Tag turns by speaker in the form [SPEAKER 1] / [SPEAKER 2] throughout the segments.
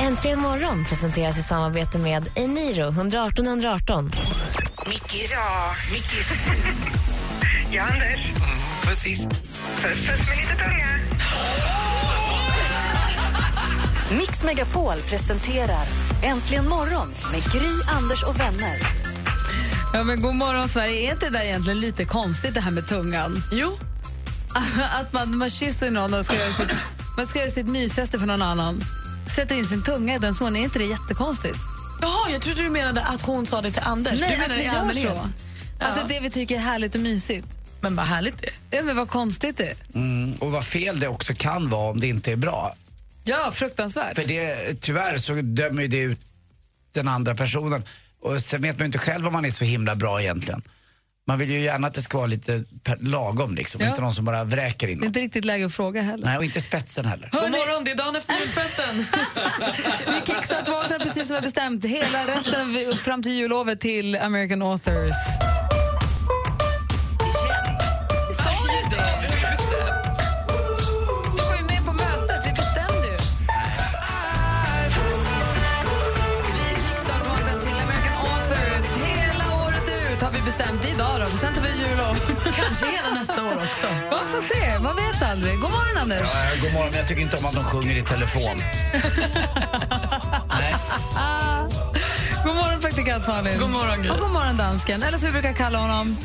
[SPEAKER 1] Äntligen morgon presenteras i samarbete med Eniro 118 118.
[SPEAKER 2] Mickis. Ja, Mickis. ja, Anders. precis. Puss, puss med lite tunga.
[SPEAKER 1] Mix Megapol presenterar Äntligen morgon med Gry, Anders och vänner.
[SPEAKER 3] Ja, men god morgon, Sverige. Är inte det där egentligen lite konstigt, det här med tungan? Jo. Att man, man kysser någon och ska göra sitt, man ska göra sitt mysigaste för någon annan. Sätter in sin tunga i den smån. Är inte det jättekonstigt?
[SPEAKER 4] Jaha, jag trodde du menade att hon sa det till Anders. du menar
[SPEAKER 3] att vi
[SPEAKER 4] i
[SPEAKER 3] gör
[SPEAKER 4] allmänhet.
[SPEAKER 3] så. Att det är det vi tycker är härligt och mysigt.
[SPEAKER 4] Men vad härligt det är.
[SPEAKER 3] Ja, men vad konstigt det är.
[SPEAKER 5] Mm, och vad fel det också kan vara om det inte är bra.
[SPEAKER 3] Ja, fruktansvärt.
[SPEAKER 5] För det, tyvärr så dömer ju det ut den andra personen. Och sen vet man ju inte själv om man är så himla bra egentligen. Man vill ju gärna att det ska vara lite per- lagom liksom,
[SPEAKER 3] Ja.
[SPEAKER 5] inte någon som bara vräker in
[SPEAKER 3] Det är
[SPEAKER 5] någon.
[SPEAKER 3] inte riktigt läge att fråga heller.
[SPEAKER 5] Nej, och inte spetsen heller.
[SPEAKER 4] God morgon, det är dagen efter julfesten.
[SPEAKER 3] Vi kickstartvaknar precis som vi har bestämt hela resten av, upp fram till jullovet till American Authors. Sa vi det? Du var ju med på mötet, vi bestämde ju. Vi kickstartvaknar till American Authors hela året ut har vi bestämt. Det är Idag då, för sen tar vi jullov.
[SPEAKER 4] Kanske hela nästa år också.
[SPEAKER 3] Man får se, man vet aldrig. God morgon Anders.
[SPEAKER 5] Äh, god morgon, men jag tycker inte om att de sjunger i telefon. Nej.
[SPEAKER 3] God morgon praktikant Malin.
[SPEAKER 4] God morgon, Gry.
[SPEAKER 3] Och god morgon dansken, eller som vi brukar kalla honom.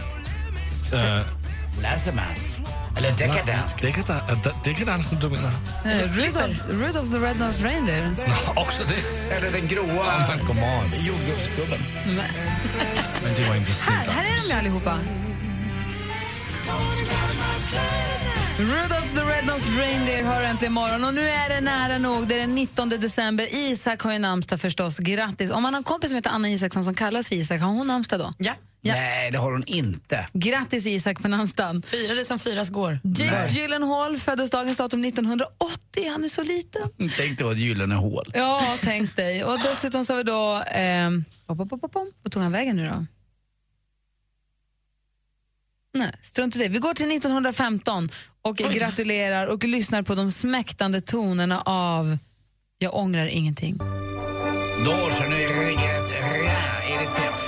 [SPEAKER 5] Laserman. Eller Decadence.
[SPEAKER 6] Det kan, da, da, det kan dansen, du menar?
[SPEAKER 3] Eh, Rudolf, Rudolf the Red-Nosed Reindeer.
[SPEAKER 6] Också det?
[SPEAKER 5] Eller den gråa
[SPEAKER 6] Men god morgon.
[SPEAKER 5] jordgubbsgubben.
[SPEAKER 3] Men-
[SPEAKER 6] Men det var inte
[SPEAKER 3] Här,
[SPEAKER 6] snyggt.
[SPEAKER 3] här är de ju allihopa. Rudolf the Red-Nosed Reindeer har äntligen morgon och nu är det nära nog. Det är den 19 december. Isak har ju namnsdag förstås. Grattis! Om man har en kompis som heter Anna Isaksson som kallas för Isak, har hon namnsdag då?
[SPEAKER 4] Ja.
[SPEAKER 3] Ja.
[SPEAKER 5] Nej, det har hon inte.
[SPEAKER 3] Grattis Isak på namnsdagen!
[SPEAKER 4] Fira det som firas går.
[SPEAKER 3] Jake Gyllenhaal föddes dagens datum 1980. Han är så liten.
[SPEAKER 5] Tänk dig vad ett gyllene hål.
[SPEAKER 3] Ja, tänk dig. Och dessutom så har vi då... ehm, pom, pom, pom, pom, pom. Vart tog han vägen nu då? Nej, strunt i det. Vi går till 1915 och gratulerar och lyssnar på de smäktande tonerna av Jag ångrar ingenting.
[SPEAKER 5] Då så, nu ringer ett rä i ditt träff.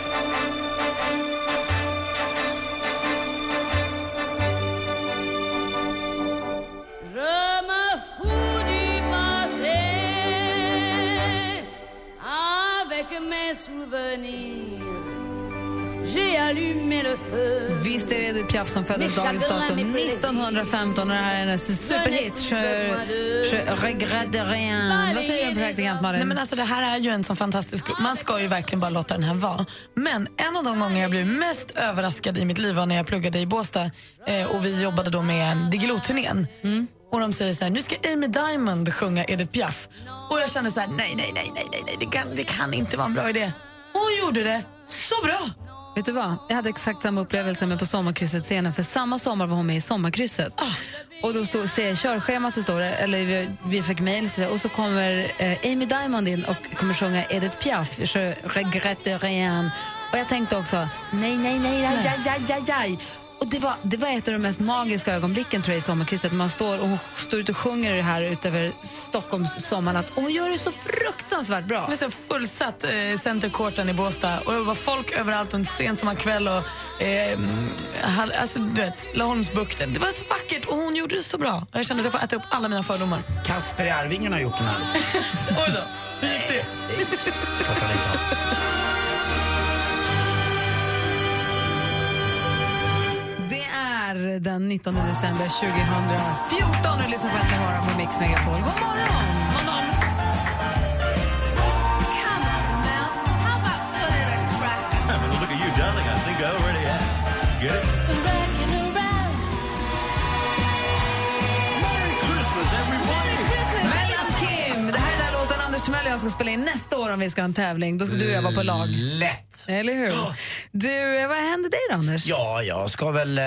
[SPEAKER 3] Visst är det Edith Piaf som föddes dagens datum 1915 och det här är hennes superhit Je, je regrette rien. Vad säger du praktikant Malin?
[SPEAKER 4] Nej, men alltså, det här är ju en sån fantastisk... Man ska ju verkligen bara låta den här vara. Men en av de gånger jag blev mest överraskad i mitt liv var när jag pluggade i Båstad eh, och vi jobbade då med Diggiloo-turnén.
[SPEAKER 3] Mm.
[SPEAKER 4] Och de säger så här, nu ska Amy Diamond sjunga Edith Piaf. Och jag kände så här, nej, nej, nej, nej, nej, nej det, kan, det kan inte vara en bra idé. Hon gjorde det så bra!
[SPEAKER 3] Vet du vad? Jag hade exakt samma upplevelse men på sommarkrysset scenen för samma sommar var hon med i sommarkrysset.
[SPEAKER 1] Ah.
[SPEAKER 3] Och då stod se körschemat så står det, eller vi, vi fick mejl så- och så kommer eh, Amy Diamond in och kommer sjunga Edith Piaf, Je regrette rien. Och jag tänkte också, nej, nej, nej, aj, aj, aj, aj, aj. Och det var, det var ett av de mest magiska ögonblicken tror jag, i sommarkrysset. Man står och hon står ute och sjunger det här utöver Stockholms sommarnatt och hon gör det så fruktansvärt bra.
[SPEAKER 4] Det är så fullsatt eh, centercourten i Båstad och det var folk överallt och en sen sommarkväll och eh, hall, alltså, du vet, Laholmsbukten. Det var så vackert och hon gjorde det så bra. Och Jag kände att jag får äta upp alla mina fördomar.
[SPEAKER 5] Kasper i Arvingen har gjort den här.
[SPEAKER 4] Oj då, hur gick det?
[SPEAKER 5] Klart han inte har.
[SPEAKER 3] Det är den 19 december 2014 och lyssnar på Äntligen morgon på Mix Megapol. God morgon! Mellan Kim! Det här är den låten Anders Timell och jag ska spela in nästa år om vi ska ha en tävling. Då ska du och jag vara på lag.
[SPEAKER 5] Lätt.
[SPEAKER 3] Eller hur? Du, eh, vad händer dig då, Anders?
[SPEAKER 5] Ja, jag ska väl eh,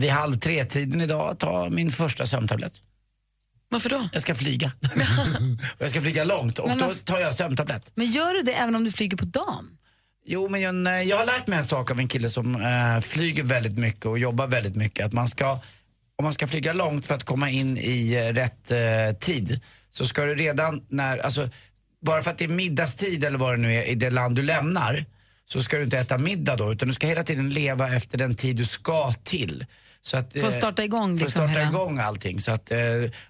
[SPEAKER 5] vid halv tre-tiden idag ta min första sömntablett.
[SPEAKER 4] Varför då?
[SPEAKER 5] Jag ska flyga. och jag ska flyga långt och
[SPEAKER 3] Men
[SPEAKER 5] då
[SPEAKER 3] alltså-
[SPEAKER 5] tar jag sömntablett.
[SPEAKER 3] Men gör du det även om du flyger på dagen?
[SPEAKER 5] Jo, men jag, jag har lärt mig en sak av en kille som eh, flyger väldigt mycket och jobbar väldigt mycket. Att man ska, om man ska flyga långt för att komma in i eh, rätt eh, tid så ska du redan när, alltså bara för att det är middagstid eller vad det nu är i det land du lämnar så ska du inte äta middag då utan du ska hela tiden leva efter den tid du ska till. Så att, eh,
[SPEAKER 3] För att starta igång
[SPEAKER 5] för att
[SPEAKER 3] liksom
[SPEAKER 5] starta
[SPEAKER 3] hela-
[SPEAKER 5] igång allting. Så att, eh,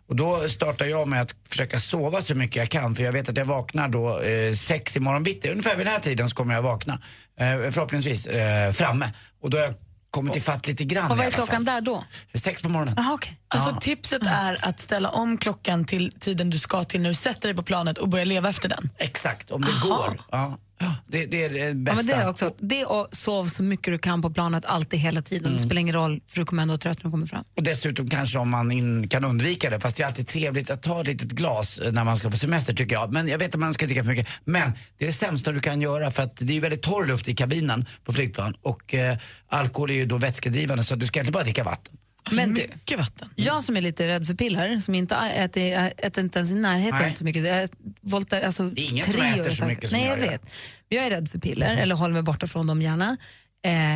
[SPEAKER 5] och då startar jag med att försöka sova så mycket jag kan för jag vet att jag vaknar då eh, sex imorgon bitti. Ungefär vid den här tiden så kommer jag vakna. Eh, förhoppningsvis eh, framme. Och då har jag kommit ifatt lite grann
[SPEAKER 3] Och vad är
[SPEAKER 5] i alla
[SPEAKER 3] klockan
[SPEAKER 5] fall.
[SPEAKER 3] där då?
[SPEAKER 5] Sex på morgonen.
[SPEAKER 3] Jaha, okej.
[SPEAKER 4] Alltså tipset är att ställa om klockan till tiden du ska till när du sätter dig på planet och börja leva efter den.
[SPEAKER 5] Exakt, om det går. Ja. Ja, Det, det är det
[SPEAKER 3] Ja,
[SPEAKER 5] bästa.
[SPEAKER 3] men det, är också, det och sov så mycket du kan på planet, alltid, hela tiden.
[SPEAKER 5] Mm.
[SPEAKER 3] Det spelar ingen roll, för du kommer ändå vara trött när du kommer fram.
[SPEAKER 5] Och dessutom kanske om man in, kan undvika det, fast det är alltid trevligt att ta ett litet glas eh, när man ska på semester tycker jag. Men jag vet att man ska dricka för mycket. Men det är det sämsta du kan göra för att det är ju väldigt torr luft i kabinen på flygplan och eh, alkohol är ju då vätskedrivande så att du ska inte bara dricka vatten.
[SPEAKER 3] Men du,
[SPEAKER 4] Mycket vatten.
[SPEAKER 5] Mm.
[SPEAKER 3] jag som är lite rädd för piller, som inte ä- äter, ä- äter inte ens i närheten
[SPEAKER 5] Nej.
[SPEAKER 3] så mycket. Jag voltar, alltså,
[SPEAKER 5] Det är ingen
[SPEAKER 3] tre
[SPEAKER 5] som äter
[SPEAKER 3] år
[SPEAKER 5] så
[SPEAKER 3] säkert.
[SPEAKER 5] mycket som
[SPEAKER 3] Nej,
[SPEAKER 5] jag
[SPEAKER 3] jag
[SPEAKER 5] gör.
[SPEAKER 3] vet. Jag är rädd för piller, eller håller mig borta från dem gärna. Eh,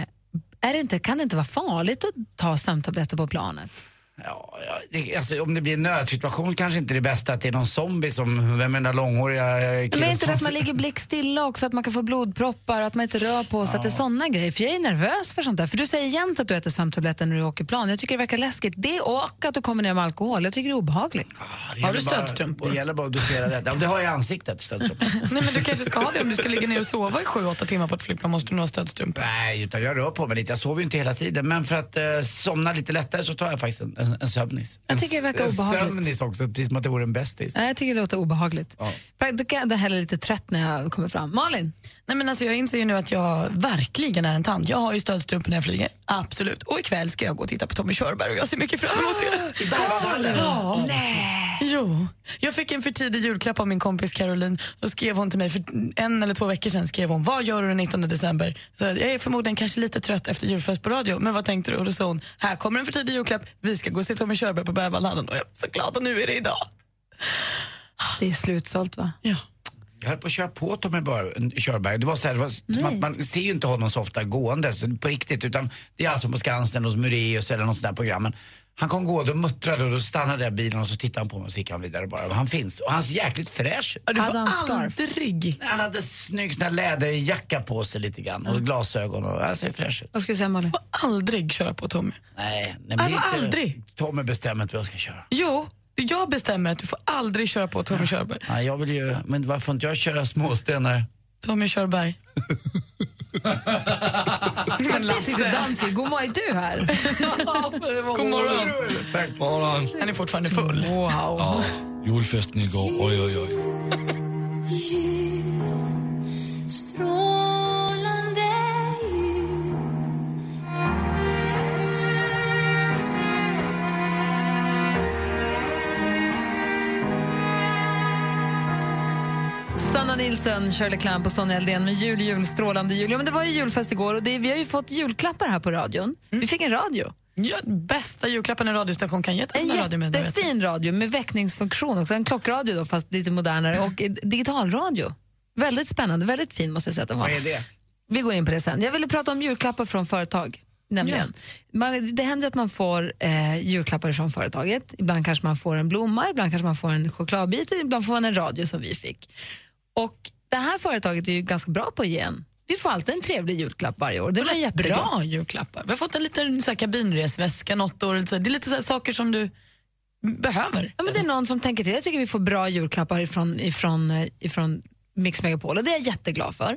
[SPEAKER 3] är det inte, kan det inte vara farligt att ta sömntabletter på planet?
[SPEAKER 5] Ja, ja, det, alltså, om det blir en nödsituation kanske inte det bästa att det är någon zombie som, vem är den där långhåriga eh, killen
[SPEAKER 3] Men är det inte
[SPEAKER 5] som-
[SPEAKER 3] det att man ligger blickstilla också, att man kan få blodproppar, att man inte rör på sig, att det är sådana grejer? För jag är nervös för sånt där. För du säger jämt att du äter sömntabletter när du åker plan. Jag tycker det verkar läskigt. Det och att du kommer ner med alkohol. Jag tycker det är obehagligt.
[SPEAKER 5] Det
[SPEAKER 4] Har
[SPEAKER 5] gäller
[SPEAKER 4] du
[SPEAKER 5] bara-
[SPEAKER 4] stödstrumpor?
[SPEAKER 5] Det gäller bara att dosera det. Ja, det har jag i ansiktet, stödstrumpor.
[SPEAKER 4] Nej men du kanske ska ha det om du ska ligga ner och sova i 7-8 timmar på ett flygplan måste du nog ha stödstrumpor.
[SPEAKER 5] Nej, utan jag rör på mig lite. Jag sover ju inte hela tiden. Men för att eh, somna lite lättare så tar jag faktiskt en, en, en sömnis.
[SPEAKER 3] Jag
[SPEAKER 5] En
[SPEAKER 3] tycker det verkar
[SPEAKER 5] s- en
[SPEAKER 3] obehagligt.
[SPEAKER 5] sömnis också, precis som att det vore en bästis.
[SPEAKER 3] Nej, jag tycker det låter obehagligt.
[SPEAKER 5] Ja.
[SPEAKER 3] Då kan jag då heller lite trött när jag kommer fram. Malin,
[SPEAKER 4] Nej men alltså jag inser ju nu att jag verkligen är en tant. Jag har ju stödstrumpor när jag flyger, absolut. Och ikväll ska jag gå och titta på Tommy Körberg och jag ser mycket fram emot det. Ja. Jo. Jag fick en för tidig julklapp av min kompis Caroline. Då skrev hon till mig för en eller två veckor sedan. Skrev hon, vad gör du den 19 december? Så jag är förmodligen kanske lite trött efter julfest på radio. Men vad tänkte du? Och då sa hon, här kommer en för tidig julklapp. Vi ska gå och se Tommy Körberg på Bäverlanden. Och jag är så glad och nu är det idag.
[SPEAKER 3] det är slutsålt va?
[SPEAKER 4] Ja.
[SPEAKER 5] Jag höll på att köra på Tommy Bör- Körberg. Det var så här, det var som att man ser ju inte honom så ofta gående så på riktigt. Utan det är alltså på Skansen hos Mureus eller något sånt där program. Men han kom gående och muttrade och då stannade jag bilen och så tittade han på mig och så gick han vidare bara. Han finns. Och han ser jäkligt fräsch ut.
[SPEAKER 4] Du
[SPEAKER 3] Hade
[SPEAKER 4] får
[SPEAKER 3] han scarf?
[SPEAKER 4] aldrig
[SPEAKER 5] Han hade snygg sån här läderjacka på sig lite grann och glasögon och han ser fräsch ut.
[SPEAKER 3] Vad ska du säga Malin?
[SPEAKER 4] får aldrig köra på Tommy.
[SPEAKER 5] Nej, nej men
[SPEAKER 4] Alltså,
[SPEAKER 5] det är inte-
[SPEAKER 4] aldrig.
[SPEAKER 5] Tommy bestämmer inte vad jag ska köra.
[SPEAKER 4] Jo, jag bestämmer att du får aldrig köra på Tommy Körberg.
[SPEAKER 5] Nej, jag vill ju, men varför får inte jag köra småstenar?
[SPEAKER 4] Tommy Körberg. Men
[SPEAKER 3] Titta
[SPEAKER 4] Lasse,
[SPEAKER 3] dansken, god morgon, är du här?
[SPEAKER 4] god morgon.
[SPEAKER 6] Tack. Morgon.
[SPEAKER 4] Han är fortfarande full.
[SPEAKER 3] Wow.
[SPEAKER 6] Ja, julfesten igår, oj oj oj.
[SPEAKER 3] Sanna Nilsson, Shirley Clamp och Sonja Aldén med jul, jul, strålande jul. Ja, men det var ju julfest igår och det, vi har ju fått julklappar här på radion. Vi fick Mm. en radio.
[SPEAKER 4] Ja, bästa julklappen en radiostation kan ge till
[SPEAKER 3] En
[SPEAKER 4] sina radiomedarbetare.
[SPEAKER 3] jättefin radio med väckningsfunktion också. En klockradio då, fast lite modernare och eh, digitalradio. Väldigt spännande, väldigt fin måste jag säga att den var.
[SPEAKER 5] Vad är det?
[SPEAKER 3] Vi går in på det sen. Jag ville prata om julklappar från företag. Nämligen. Man, det händer att man får eh, julklappar från företaget. Ibland kanske man får en blomma, ibland kanske man får en chokladbit och ibland får man en radio som vi fick. Och det här företaget är ju ganska bra på att ge en. Vi får alltid en trevlig julklapp varje år. Det var jättebra.
[SPEAKER 4] Bra julklappar. Vi har fått en liten så här, kabinresväska något år. eller så. Det är lite så här, saker som du behöver.
[SPEAKER 3] Ja, men det är någon som tänker till. Jag tycker vi får bra julklappar ifrån, ifrån, eh, ifrån Mix Megapol och det är jag jätteglad för.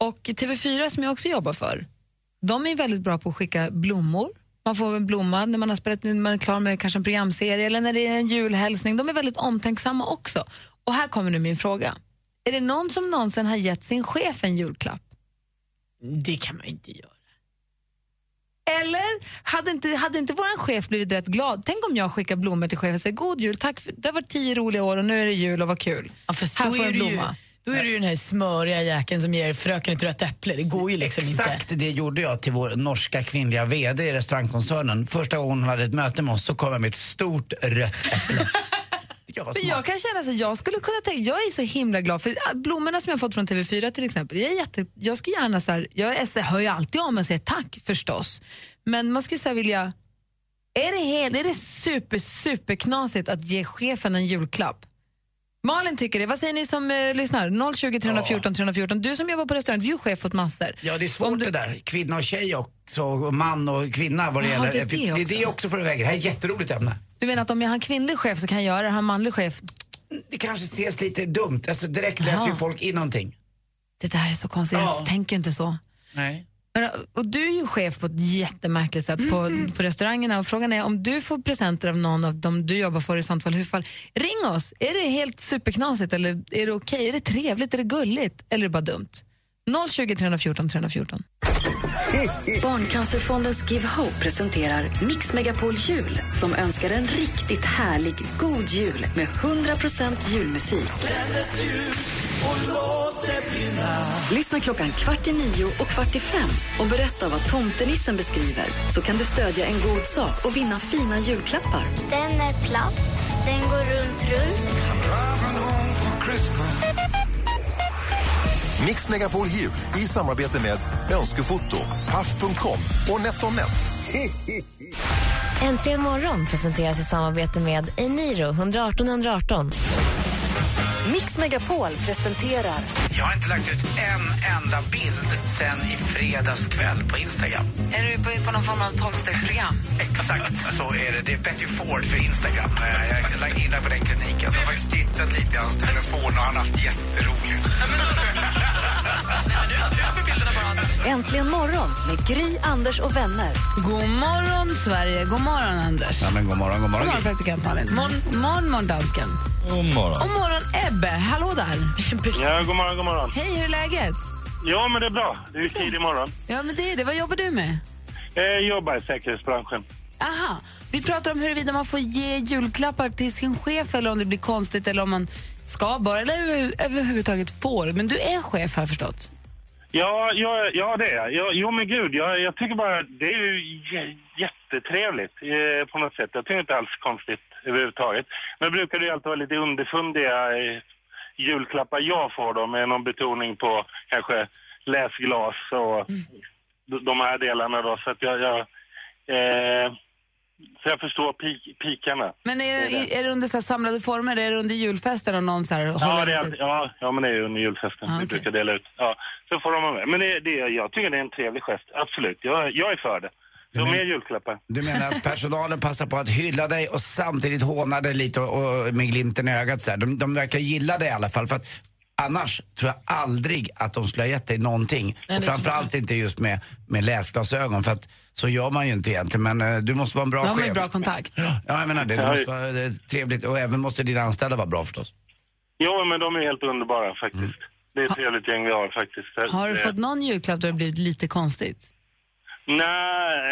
[SPEAKER 3] Och TV4 som jag också jobbar för, de är väldigt bra på att skicka blommor. Man får en blomma när man har spelat när man är klar med kanske en programserie eller när det är en julhälsning. De är väldigt omtänksamma också. Och här kommer nu min fråga. Är det någon som någonsin har gett sin chef en julklapp?
[SPEAKER 4] Det kan man ju inte göra.
[SPEAKER 3] Eller hade inte, hade inte vår chef blivit rätt glad? Tänk om jag skickar blommor till chefen och säger god jul, tack för, det har varit tio roliga år och nu är det jul och vad kul.
[SPEAKER 4] Ja, fast
[SPEAKER 3] Här
[SPEAKER 4] då,
[SPEAKER 3] får
[SPEAKER 4] är
[SPEAKER 3] en
[SPEAKER 4] det ju,
[SPEAKER 3] blomma.
[SPEAKER 4] då är det ju den här smöriga jäkeln som ger fröken ett rött äpple. Det går ju liksom inte.
[SPEAKER 5] Exakt det gjorde jag till vår norska kvinnliga VD i restaurangkoncernen. Första gången hon hade ett möte med oss så kom jag med ett stort rött äpple. Jag var
[SPEAKER 3] Men jag
[SPEAKER 5] smart.
[SPEAKER 3] kan känna så jag skulle kunna tänka, jag är så himla glad för att blommorna som jag fått från TV4 till exempel, jag, är jätte, jag skulle gärna så här, jag är, så- hör ju alltid om och säger tack förstås, men man skulle så här vilja, är det, helt, är det super, super knasigt att ge chefen en julklapp? Malin tycker det. Vad säger ni som eh, lyssnar? 020 314 314. Du som jobbar på restaurang, du är ju chef åt massor.
[SPEAKER 5] Ja, det är svårt
[SPEAKER 3] Om du-
[SPEAKER 5] det där. Kvinna och tjej också, och man och kvinna vad det
[SPEAKER 3] Jaha,
[SPEAKER 5] gäller.
[SPEAKER 3] det är det
[SPEAKER 5] det,
[SPEAKER 3] också.
[SPEAKER 5] är det också för vägen. Det här är ett jätteroligt ämne.
[SPEAKER 3] Du menar att om jag har en kvinnlig chef så kan jag göra det, har en manlig chef,
[SPEAKER 5] Det kanske ses lite dumt. Alltså direkt läser ju
[SPEAKER 3] Ja.
[SPEAKER 5] folk in någonting.
[SPEAKER 3] det där är så konstigt,
[SPEAKER 5] Ja.
[SPEAKER 3] jag tänker ju inte så.
[SPEAKER 5] Nej.
[SPEAKER 3] Men, Och du är ju chef på ett jättemärkligt sätt på, på restaurangerna och frågan är om du får presenter av någon av dem du jobbar för i sånt fall, hur fall, ring oss! Är det helt superknasigt eller är det okej? Är det trevligt? Är det gulligt? Eller är det bara dumt? 020 314 314.
[SPEAKER 1] Barncancerfondens Give Hope presenterar Mix Megapol Jul som önskar en riktigt härlig god jul med 100% julmusik. Lyssna klockan kvart i nio och kvart i fem och berätta vad tomtenissen beskriver så kan du stödja en god sak och vinna fina julklappar.
[SPEAKER 7] Den är platt. Den går runt, runt.
[SPEAKER 8] Mix Megapol Jul i samarbete med Önskefoto, Paff.com och NetOnNet.
[SPEAKER 9] Äntligen morgon presenteras i samarbete med Eniro 118 118.
[SPEAKER 1] Mix Megapol presenterar
[SPEAKER 5] Jag har inte lagt ut en enda bild sen i fredags kväll på Instagram.
[SPEAKER 3] Är du på, på någon form av tolvstegsprogram?
[SPEAKER 5] Exakt så är det. Det är Betty Ford för Instagram. Eh, Jag är inne på den kliniken. Jag har faktiskt tittat lite i hans telefon och han har haft jätteroligt.
[SPEAKER 1] Äntligen morgon med Gry, Anders och vänner.
[SPEAKER 3] God morgon Sverige, god morgon Anders.
[SPEAKER 5] Ja, men god morgon, god
[SPEAKER 3] God
[SPEAKER 5] morgon.
[SPEAKER 3] morgon praktikant Malin. God morgon, morgon dansken.
[SPEAKER 6] God morgon.
[SPEAKER 3] Och morgon Ebbe, hallå där.
[SPEAKER 9] Ja, god morgon, god morgon.
[SPEAKER 3] Hej, hur är läget?
[SPEAKER 9] Ja, men det är bra. Det är ju tidig morgon.
[SPEAKER 3] Ja men det är det, vad jobbar du med?
[SPEAKER 9] Jag jobbar i säkerhetsbranschen.
[SPEAKER 3] Aha, vi pratar om huruvida man får ge julklappar till sin chef eller om det blir konstigt eller om man ska bara, eller över- överhuvudtaget får. Men du är chef här förstått?
[SPEAKER 9] Ja, ja, ja det är jag. Ja, Jo, men gud, jag, jag tycker bara det är ju jä- jättetrevligt eh, på något sätt. Jag tycker inte alls konstigt överhuvudtaget. Men brukar det ju alltid vara lite underfundiga eh, julklappar jag får då med någon betoning på kanske läsglas och d- de här delarna då. Så att jag, jag eh, så jag förstår pi- pikarna.
[SPEAKER 3] Men är, det- är det under så här samlade former, är det under julfesten och någon så här
[SPEAKER 9] Ja,
[SPEAKER 3] håller
[SPEAKER 9] det är,
[SPEAKER 3] lite-
[SPEAKER 9] alltid- ja, ja, men det är ju under julfesten.
[SPEAKER 3] Ah,
[SPEAKER 9] Vi
[SPEAKER 3] okej.
[SPEAKER 9] brukar dela ut. Ja, så får de vara med. Men det, det, jag tycker det är en trevlig gest. Absolut. Jag, jag är för det. Så
[SPEAKER 5] men-
[SPEAKER 9] mer julklappar.
[SPEAKER 5] Du menar att personalen passar på att hylla dig och samtidigt håna dig lite och, och med glimten i ögat så här. De, de verkar gilla dig i alla fall för att annars tror jag aldrig att de skulle ha gett dig någonting.
[SPEAKER 4] det är
[SPEAKER 5] och
[SPEAKER 4] så
[SPEAKER 5] framförallt inte just med, med läsglasögon för att så gör man ju inte egentligen. Men eh, du måste vara en bra
[SPEAKER 3] Ja,
[SPEAKER 5] chef.
[SPEAKER 3] men bra kontakt.
[SPEAKER 5] Ja, jag menar det. Det
[SPEAKER 9] Ja,
[SPEAKER 5] måste
[SPEAKER 9] ju-
[SPEAKER 5] vara eh, trevligt och även måste dina anställda vara bra förstås.
[SPEAKER 9] Jo, men de är helt underbara faktiskt. Det är ett trevligt gäng vi har faktiskt.
[SPEAKER 3] Mm. Har du
[SPEAKER 9] Eh,
[SPEAKER 3] fått någon julklapp där det blivit lite konstigt?
[SPEAKER 9] Nej.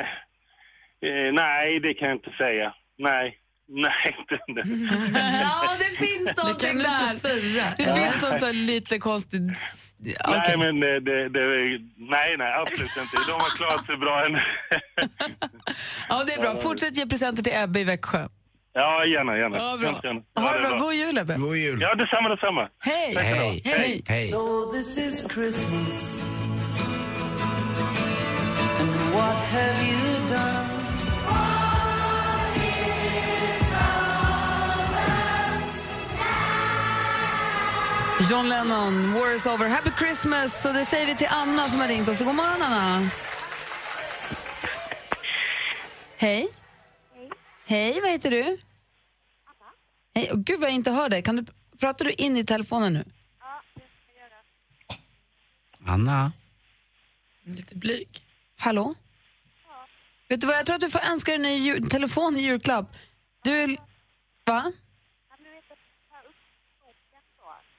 [SPEAKER 9] Eh, nej, det kan jag inte säga. Nej. Nej, inte det.
[SPEAKER 3] ja, det finns
[SPEAKER 4] Det kan
[SPEAKER 3] någonting
[SPEAKER 4] du inte
[SPEAKER 3] där.
[SPEAKER 4] säga.
[SPEAKER 3] Det finns något så här lite konstigt. Ja,
[SPEAKER 9] Nej,
[SPEAKER 3] okej.
[SPEAKER 9] men det, det, det, nej, nej, absolut inte. De har klarat sig bra än.
[SPEAKER 3] Ja, det är bra. Fortsätt ge presenter till Ebbe i Växjö.
[SPEAKER 9] ja, gärna, gärna.
[SPEAKER 3] Ja,
[SPEAKER 9] Hemskt
[SPEAKER 3] bra.
[SPEAKER 9] gärna.
[SPEAKER 3] Ha det bra.
[SPEAKER 9] bra.
[SPEAKER 3] God jul, Ebbe.
[SPEAKER 5] God jul.
[SPEAKER 9] Ja, detsamma, detsamma.
[SPEAKER 3] Hej!
[SPEAKER 5] Hej. Hej. Hej.
[SPEAKER 3] John Lennon, War is over. Happy Christmas! Så det säger vi till Anna som har ringt oss. God morgon, Anna! Hej. Hej, vad heter du? Hej. Oh, Gud, vad jag inte hör dig. Kan du, pratar du in i telefonen nu?
[SPEAKER 5] Anna.
[SPEAKER 4] Lite blyg.
[SPEAKER 3] Hallå? Vet du vad, jag tror att du får önska dig en ny ju- telefon i julklapp. Du... är- Va?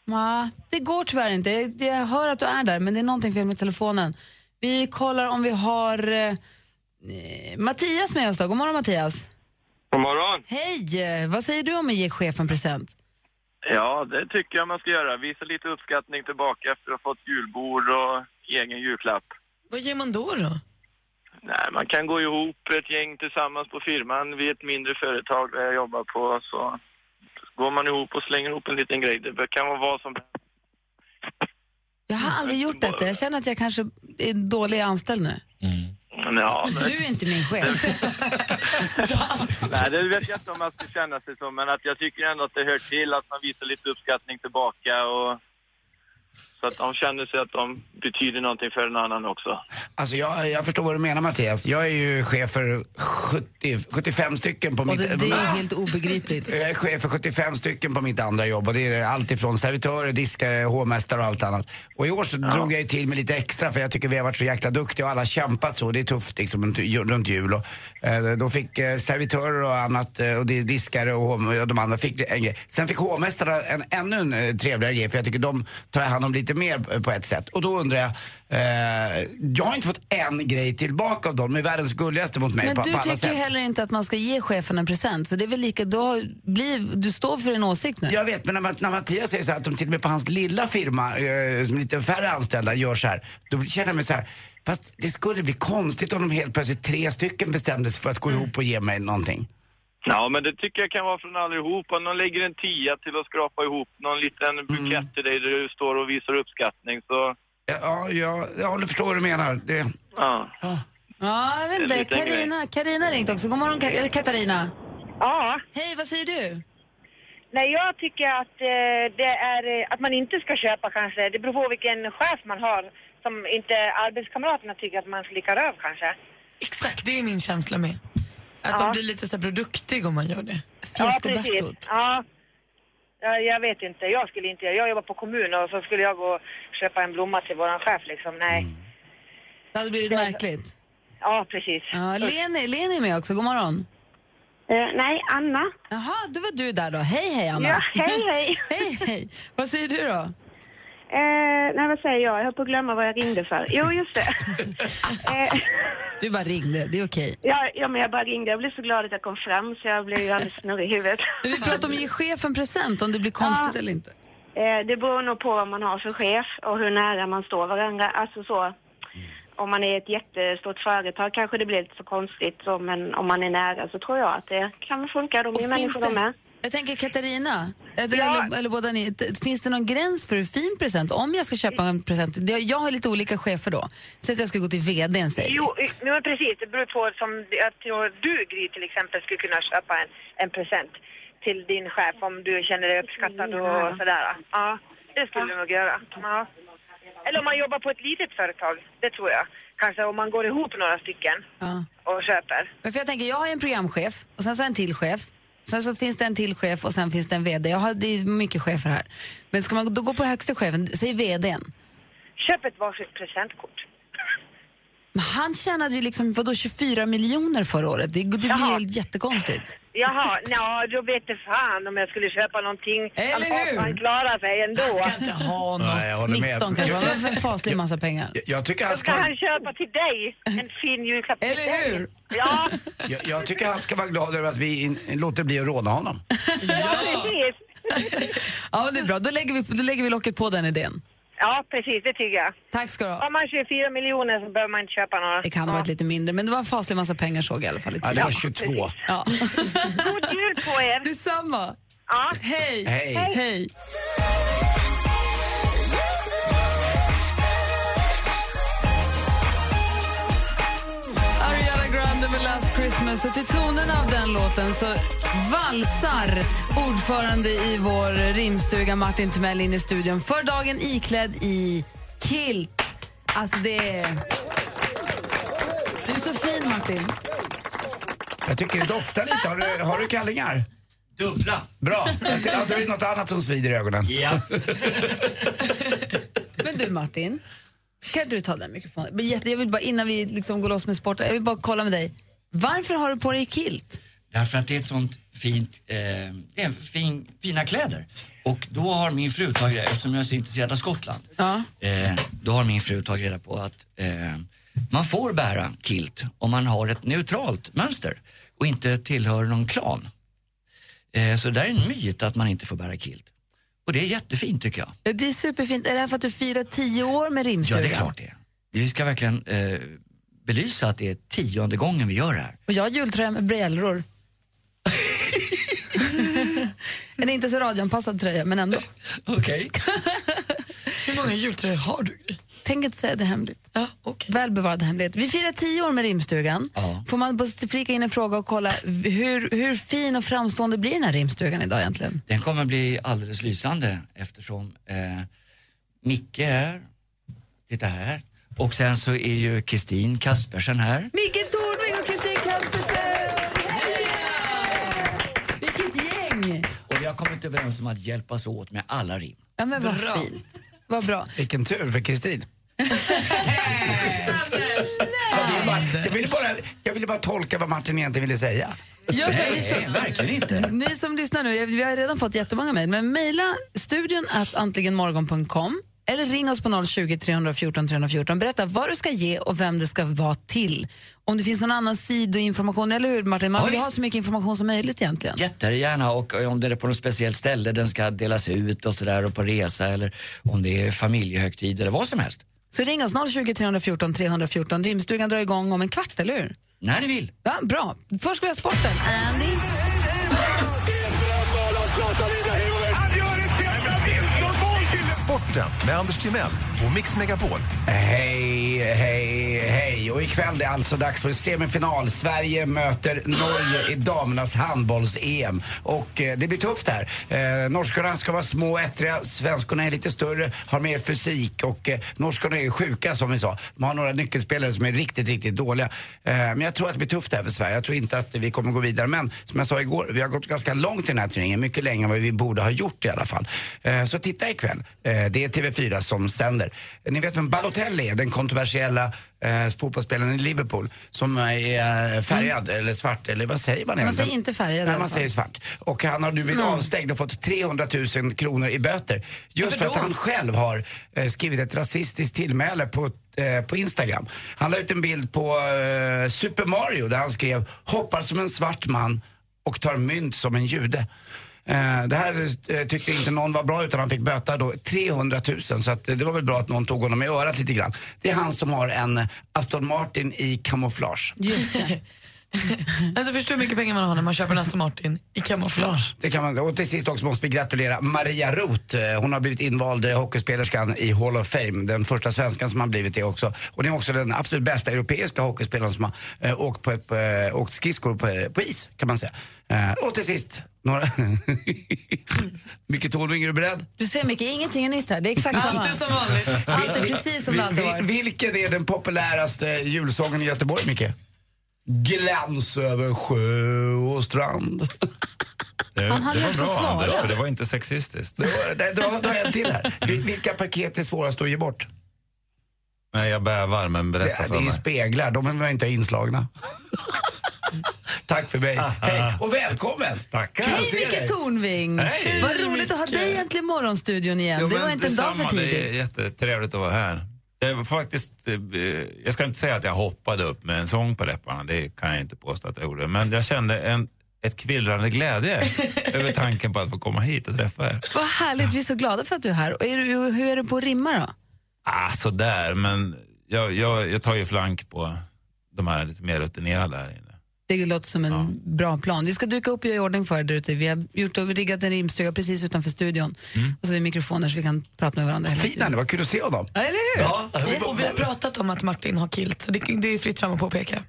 [SPEAKER 3] Ja, det går tyvärr inte. Jag, jag hör att du är där, men det är någonting fel med telefonen. Vi kollar om vi har eh, eh, Mattias med oss då. God morgon Mattias.
[SPEAKER 10] God morgon.
[SPEAKER 3] Hej! eh, Vad säger du om att ge chefen present?
[SPEAKER 10] Ja, det tycker jag man ska göra. Visa lite uppskattning tillbaka efter att ha fått julbord och egen julklapp.
[SPEAKER 4] Vad ger man då då?
[SPEAKER 10] Nej, man kan gå ihop ett gäng tillsammans på firman. Vi är ett mindre företag där jag jobbar på. Så går man ihop och slänger ihop en liten grej. Det kan vara vad som
[SPEAKER 3] Jag har aldrig gjort detta. Jag känner att jag kanske är en dålig anställd nu.
[SPEAKER 10] Ja, men...
[SPEAKER 3] Du är inte min chef.
[SPEAKER 10] Nej, det vet jag inte om man ska känna sig som, men att jag tycker ändå att det hör till att man visar lite uppskattning tillbaka och så att de känner sig att de betyder någonting för en annan också.
[SPEAKER 5] Alltså jag, jag förstår vad du menar Mattias. Jag är ju chef för 70, 75 stycken på
[SPEAKER 3] Och
[SPEAKER 5] mitt... Ah!
[SPEAKER 3] det, det är helt obegripligt.
[SPEAKER 5] Jag är Eh, chef för 75 stycken på mitt andra jobb och det är allt ifrån servitörer, diskare, hovmästare och allt annat. Och i år så drog jag ju till med lite extra för jag tycker vi har varit så jäkla duktiga och alla har kämpat så. Det är tufft liksom runt- runt jul. Och, eh, då fick eh, servitörer och annat eh, och det är diskare och, hov- och de andra fick en grej. Sen fick hovmästarna en ännu en eh, trevligare grej för jag tycker de tar hand om lite mer eh, på ett sätt. Och då undrar jag, eh, jag har inte fått en grej tillbaka av dem. De är världens gulligaste mot mig
[SPEAKER 3] Men
[SPEAKER 5] på,
[SPEAKER 3] du
[SPEAKER 5] på alla
[SPEAKER 3] tycker ju
[SPEAKER 5] sätt.
[SPEAKER 3] heller inte att man ska ge chefen en present, så det är väl lika, du, har, blir, du står för din åsikt nu?
[SPEAKER 5] Jag vet, men när, Matt- när Mattias säger så här att de till och med på hans lilla firma, eh, som är lite färre anställda, gör så här. Då känner jag mig så här, fast det skulle bli konstigt om de helt plötsligt tre stycken bestämde sig för att gå ihop och ge mig någonting.
[SPEAKER 10] Ja, men det tycker jag kan vara från allihopa. Någon lägger en tia till att skrapa ihop någon liten bukett till dig där du står och visar uppskattning, så...
[SPEAKER 5] Ja, ja, jag, jag håller förstår vad du menar. Det...
[SPEAKER 10] Ja.
[SPEAKER 3] Ja, jag vet
[SPEAKER 10] En
[SPEAKER 3] inte.
[SPEAKER 10] liten
[SPEAKER 3] Karina, Karina ringt också. God morgon, Ka- eller Katarina. Ja. Hej, vad säger du?
[SPEAKER 11] Nej, jag tycker att, eh, det är, eh, att man inte ska köpa kanske. Det beror på vilken chef man har som inte arbetskamraterna tycker att man slickar av kanske.
[SPEAKER 4] Exakt, det är min känsla med. Att man blir lite så här produktig om man gör det.
[SPEAKER 11] ja, precis. Ja. ja, jag vet inte. Jag skulle inte Jag jobbar på kommun och så skulle jag gå och köpa en blomma till våran chef liksom. Nej.
[SPEAKER 3] Mm. Det hade blivit märkligt.
[SPEAKER 11] Ja, precis.
[SPEAKER 3] Ja, Leni, Leni är med också. God morgon.
[SPEAKER 11] nej, Anna.
[SPEAKER 3] Jaha, då var du där då. Hej, hej Anna.
[SPEAKER 12] Eh, Ja, hej, hej.
[SPEAKER 3] hej, hej. Vad säger du då?
[SPEAKER 12] Eh, nej, vad säger jag? Jag höll på att glömma vad jag ringde för. Jo, just det. eh,
[SPEAKER 3] Du bara ringde, det är okej.
[SPEAKER 12] ja, ja, men jag bara ringde. Jag blev så glad att jag kom fram så jag blev ju alldeles snurrig i huvudet.
[SPEAKER 3] Vi pratar om att ge chefen present, om det blir konstigt
[SPEAKER 12] Ja.
[SPEAKER 3] eller inte.
[SPEAKER 12] Eh, det beror nog på vad man har för chef och hur nära man står varandra. Alltså så, om man är ett jättestort företag kanske det blir lite så konstigt. Så, men om man är nära så tror jag att det kan funka. De är ju människor de med.
[SPEAKER 3] Jag tänker Katarina, eller, eller, eller båda ni, t- finns det någon gräns för hur fin present, om jag ska köpa en present, det- jag har lite olika chefer då, så att jag ska gå till vdn säger vi.
[SPEAKER 11] Jo, i- men precis. Det beror på som jag tror du, Gry, till exempel skulle kunna köpa en, en present till din chef om du känner dig uppskattad och sådär. Ja, det skulle du nog göra. Ja. Eller om man jobbar på ett litet företag, det tror jag. Kanske om man går ihop några stycken
[SPEAKER 3] Ja.
[SPEAKER 11] och köper.
[SPEAKER 3] Men för jag tänker, jag har en programchef och sen så har jag en till chef. Sen så finns det en till chef och sen finns det en vd. Jag har, det är mycket chefer här. Men ska man då gå på högsta chefen, säg vdn.
[SPEAKER 11] Köp ett varsitt presentkort.
[SPEAKER 3] Men han tjänade ju liksom, vadå, 24 miljoner förra året. Det, det blir
[SPEAKER 11] Jaha.
[SPEAKER 3] helt jättekonstigt.
[SPEAKER 11] Jaha, nja, då vet det fan om jag skulle köpa någonting.
[SPEAKER 3] Eller
[SPEAKER 11] hur? Han klarar sig ändå. Han ska inte
[SPEAKER 5] ha Nej, jag håller med.
[SPEAKER 3] 19 kanske, det var en faslig massa pengar.
[SPEAKER 5] Jag, jag tycker
[SPEAKER 11] Då
[SPEAKER 5] han
[SPEAKER 11] ska
[SPEAKER 5] ska...
[SPEAKER 11] han köpa till dig en fin julklapp till
[SPEAKER 3] Eller
[SPEAKER 11] dig.
[SPEAKER 3] hur?
[SPEAKER 11] Ja,
[SPEAKER 5] Jag, jag tycker han ska vara glad över att vi in, låter bli att råna honom.
[SPEAKER 11] ja, precis.
[SPEAKER 3] Ja, men det är bra. Då lägger, vi, då lägger vi locket på den idén.
[SPEAKER 11] Ja, precis. Det tycker jag.
[SPEAKER 3] Tack ska du ha.
[SPEAKER 11] Om man har 24 miljoner så behöver man inte köpa några.
[SPEAKER 3] Det kan ha varit lite mindre, men det var en faslig massa pengar såg jag i alla fall. i
[SPEAKER 5] Ja, det var
[SPEAKER 3] tidningen.
[SPEAKER 5] 22.
[SPEAKER 3] Ja.
[SPEAKER 11] God jul på er!
[SPEAKER 3] Detsamma!
[SPEAKER 11] Ja.
[SPEAKER 3] Hej!
[SPEAKER 5] Hej.
[SPEAKER 3] Hej. Ariana Grande med Last Christmas. Och till tonen av den låten så valsar ordförande i vår rimstuga Martin Timell in i studion för dagen iklädd i kilt. Alltså det är... Du är så fin, Martin.
[SPEAKER 5] Jag tycker det doftar lite. Har du, har du kallingar? Dubbla. Bra. Ja, Då är det något annat som svider i ögonen. Ja.
[SPEAKER 3] Men du Martin, kan inte du ta den mikrofonen? Men jätte- Jag vill bara, innan vi liksom går loss med sporten, jag vill bara kolla med dig. Varför har du på dig kilt?
[SPEAKER 13] Därför att det är ett sånt fint, eh, det är fin, fina kläder. Och då har min fru tagit reda eftersom jag är så intresserad av Skottland,
[SPEAKER 3] Ja.
[SPEAKER 13] eh, då har min fru tagit reda på att eh, Man får bära kilt om man har ett neutralt mönster och inte tillhör någon klan. Eh, Så det där är en myt att man inte får bära kilt. Och det är jättefint tycker jag.
[SPEAKER 3] Det är superfint. Är det här för att du firar tio år med rimstugan?
[SPEAKER 13] Ja, det är klart det är. Vi ska verkligen eh, belysa att det är tionde gången vi gör det här.
[SPEAKER 3] Och jag har jultröja med brallor. en inte så radioanpassad tröja, men ändå.
[SPEAKER 13] Okej.
[SPEAKER 4] Hur många jultröjor har du?
[SPEAKER 3] Tänk inte säga det hemligt. Ja, Välbevarad hemlighet. Vi firar tio år med rimstugan.
[SPEAKER 13] Ja.
[SPEAKER 3] Får man bara flika in en fråga och kolla hur, hur fin och framstående blir den här rimstugan idag egentligen?
[SPEAKER 13] Den kommer bli alldeles lysande eftersom eh, Micke är här, titta här, och sen så är ju Kristin Kaspersen här.
[SPEAKER 3] Micke Tornving och Kristin Kaspersen! Vilket gäng!
[SPEAKER 13] Och vi har kommit överens om att hjälpas åt med alla rim.
[SPEAKER 3] Ja, men vad
[SPEAKER 13] Bra.
[SPEAKER 3] fint. Vad bra.
[SPEAKER 5] Vilken tur för Kristin. Jag ville bara- jag ville bara, jag ville bara tolka vad Martin egentligen ville säga.
[SPEAKER 3] Gör så här,
[SPEAKER 5] Nej,
[SPEAKER 3] Lisa.
[SPEAKER 13] verkligen
[SPEAKER 3] Ni som lyssnar nu, vi har redan fått jättemånga mejl, men mejla studion att antligenmorgon.com eller ring oss på 020 314 314. Berätta vad du ska ge och vem det ska vara till. Om det finns någon annan sidoinformation, eller hur Martin? Man
[SPEAKER 13] Ja,
[SPEAKER 3] vill ju ha
[SPEAKER 13] visst.
[SPEAKER 3] så mycket information som möjligt egentligen.
[SPEAKER 13] Jättegärna och om det är på något speciellt ställe den ska delas ut och sådär och på resa eller om det är familjehögtid eller vad som helst.
[SPEAKER 3] Så ring oss 020 314 314. Rimstugan drar igång om en kvart, eller hur?
[SPEAKER 13] När ni vill.
[SPEAKER 3] Ja, bra. Först ska vi ha sporten. Andy?
[SPEAKER 8] Sporten med Anders Timell och Mix Megapol.
[SPEAKER 5] Hej, hej, hej. Och ikväll är det alltså dags för semifinal. Sverige möter Norge i damernas handbolls-EM. Och eh, det blir tufft här. Eh, norskorna ska vara små och ettriga, svenskorna är lite större, har mer fysik och eh, norskorna är sjuka som vi sa. De har några nyckelspelare som är riktigt, riktigt dåliga. Eh, men jag tror att det blir tufft här för Sverige. Jag tror inte att vi kommer gå vidare. Men som jag sa igår, vi har gått ganska långt i den här turneringen. Mycket längre än vad vi borde ha gjort i alla fall. Eh, så titta ikväll. Eh, det är TV4 som sänder. Ni vet vem Balotelli är, den kontroversiella eh, fotbollsspelaren i Liverpool. Som är eh, färgad, eller svart, eller vad säger man
[SPEAKER 3] Mm. Man
[SPEAKER 5] egentligen?
[SPEAKER 3] säger inte färgad i
[SPEAKER 5] Nej,
[SPEAKER 3] alla
[SPEAKER 5] man
[SPEAKER 3] fall.
[SPEAKER 5] säger svart. Och han har nu blivit
[SPEAKER 3] Mm.
[SPEAKER 5] avstängd och fått 300 000 kronor i böter. Just
[SPEAKER 14] Varför
[SPEAKER 5] för att
[SPEAKER 14] då?
[SPEAKER 5] han själv har eh, skrivit ett rasistiskt tillmäle på, eh, på Instagram. Han la ut en bild på eh, Super Mario där han skrev “Hoppar som en svart man och tar mynt som en jude”. Eh, Det här eh, tyckte inte någon var bra utan han fick böta då 300 000 så att eh, det var väl bra att någon tog honom i örat lite grann. Det är han som har en eh, Aston Martin i kamouflage.
[SPEAKER 3] Just det.
[SPEAKER 4] alltså förstår hur mycket pengar man har när man köper en Aston Martin i kamouflage.
[SPEAKER 5] Det kan man, och till sist också måste vi gratulera Maria Roth. Eh, Hon har blivit invald eh, hockeyspelerskan i Hall of Fame. Den första svenskan som har blivit det också. Och det är också den absolut bästa europeiska hockeyspelaren som har eh, åkt, på ett, på, eh, åkt skridskor på, på is, kan man säga. Eh, och till sist, några... Micke Tornving, är du beredd?
[SPEAKER 3] Du ser mycket, ingenting är nytt här. Det är exakt samma.
[SPEAKER 4] Allt är som vanligt.
[SPEAKER 3] Allt är precis som det alltid
[SPEAKER 5] Vi-
[SPEAKER 3] varit.
[SPEAKER 5] vi- Vilken är den populäraste julsången i Göteborg, Micke? Gläns över sjö och strand.
[SPEAKER 3] Han hade ju också svarat.
[SPEAKER 6] för det var inte sexistiskt.
[SPEAKER 5] Nej, Du har, du har en till här. Vil- Vilka paket är svårast att ge bort?
[SPEAKER 6] Nej, jag bävar, men
[SPEAKER 5] Det,
[SPEAKER 6] berätta för
[SPEAKER 5] det är ju
[SPEAKER 6] mig.
[SPEAKER 5] speglar, de behöver inte ha inslagna. Tack för mig. Hej och välkommen! Tackar.
[SPEAKER 3] Hej Micke Tornving!
[SPEAKER 6] Hej.
[SPEAKER 3] Vad roligt att ha dig äntligen i morgonstudion igen. det var inte en dag för tidigt.
[SPEAKER 6] Det är jättetrevligt att vara här. Jag, var faktiskt, eh, jag ska inte säga att jag hoppade upp med en sång på läpparna, det kan jag inte påstå att jag gjorde. Men jag kände en, ett kvillrande glädje över tanken på att få komma hit och träffa er.
[SPEAKER 3] Vad härligt, vi är så glada för att du är här. Och är du, hur är du på att rimma då?
[SPEAKER 6] Ah, sådär, men jag, jag, jag tar ju flank på de här lite mer rutinerade här inne.
[SPEAKER 3] Det låter som en bra plan. Vi ska duka upp och göra i ordning för er där ute. Vi har gjort och riggat en rimstuga precis utanför studion. Och så har vi mikrofoner så vi kan prata med varandra hela
[SPEAKER 5] Fin
[SPEAKER 3] tiden.
[SPEAKER 5] han är, vad kul att se honom.
[SPEAKER 3] Ja, eller hur?
[SPEAKER 5] Ja.
[SPEAKER 4] Och vi har pratat om att Martin har kilt, så det, det är fritt fram att påpeka.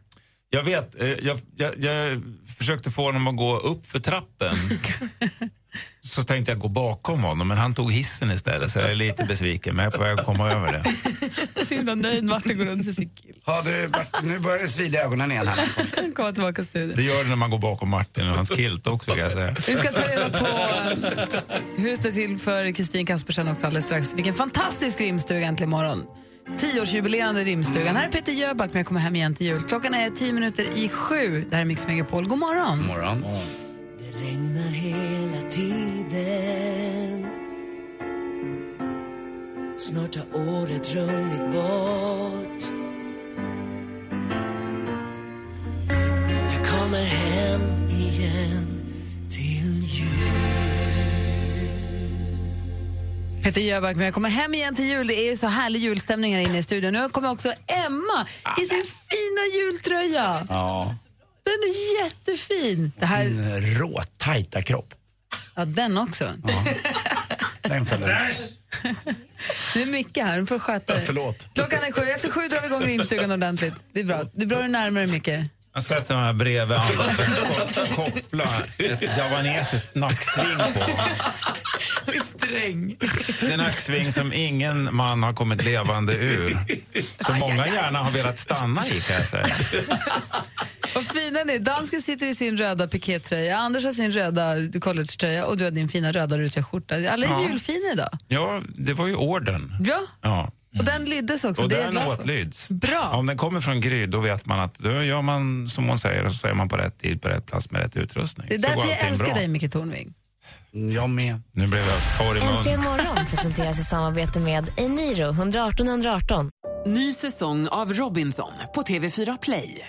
[SPEAKER 6] Jag vet, eh, jag, jag, jag försökte få honom att gå upp för trappen. Så tänkte jag gå bakom honom, men han tog hissen istället så jag är lite besviken, men jag är på väg att komma över det.
[SPEAKER 3] Så himla nöjd Martin går runt med sin kill.
[SPEAKER 5] Ja, du, Bert, nu börjar det svida i ögonen igen. Här.
[SPEAKER 3] Komma tillbaka till studion.
[SPEAKER 6] Det gör det när man går bakom Martin och hans kilt också kan jag säga.
[SPEAKER 3] Vi ska ta reda på hur det står till för Kristin Kaspersen också alldeles strax. Vilken fantastisk rimstuga äntligen imorgon. Tioårsjubilerande rimstugan. Här är Peter Jöback med Jag kommer hem igen till jul. Klockan är tio minuter i sju. Det här är Mix Megapol. God morgon.
[SPEAKER 5] morgon.
[SPEAKER 15] Det regnar hela tiden Snart har året runnit bort
[SPEAKER 3] Peter Jöback, men jag kommer hem igen till jul. Det är ju så härlig julstämning här inne i studion. Nu kommer också Emma i sin fina jultröja.
[SPEAKER 5] Ja.
[SPEAKER 3] Den är jättefin. Det här,
[SPEAKER 5] Sin råtajta kropp.
[SPEAKER 3] ja, den också.
[SPEAKER 5] Den fäller
[SPEAKER 3] Det är mycket här, du får sköta
[SPEAKER 5] Ja,
[SPEAKER 3] dig.
[SPEAKER 5] förlåt.
[SPEAKER 3] Klockan är sju, efter sju drar vi igång rimstugan ordentligt. Det är bra. Det är bra du närmar dig mycket.
[SPEAKER 6] Jag sätter mig här bredvid honom och sen ko- kopplar ett javanesiskt nacksving på honom.
[SPEAKER 4] Sträng.
[SPEAKER 6] Det nacksving som ingen man har kommit levande ur. Som många gärna har velat stanna i kan jag säga.
[SPEAKER 3] Vad fina ni är. Dansken sitter i sin röda pikétröja, Anders har sin röda collegetröja och du har din fina röda rutiga skjorta. Alla är
[SPEAKER 6] Ja.
[SPEAKER 3] julfina idag.
[SPEAKER 6] Ja, det var ju orden.
[SPEAKER 3] Ja,
[SPEAKER 6] Ja.
[SPEAKER 3] och den lyddes också.
[SPEAKER 6] och
[SPEAKER 3] det är jag
[SPEAKER 6] den
[SPEAKER 3] glad för.
[SPEAKER 6] åtlyds.
[SPEAKER 3] Bra.
[SPEAKER 6] Om den kommer från Gry, då vet man att då gör man som hon säger och så är man på rätt tid, på rätt plats med rätt utrustning.
[SPEAKER 3] Det är
[SPEAKER 6] Så går
[SPEAKER 3] därför jag
[SPEAKER 6] allting
[SPEAKER 3] älskar
[SPEAKER 6] bra.
[SPEAKER 3] dig, Micke Tornving.
[SPEAKER 5] Jag med.
[SPEAKER 6] Nu blev jag torr i munnen.
[SPEAKER 14] Äntligen morgon presenteras i samarbete med Eniro 118 118.
[SPEAKER 16] Ny säsong av Robinson på TV4 Play.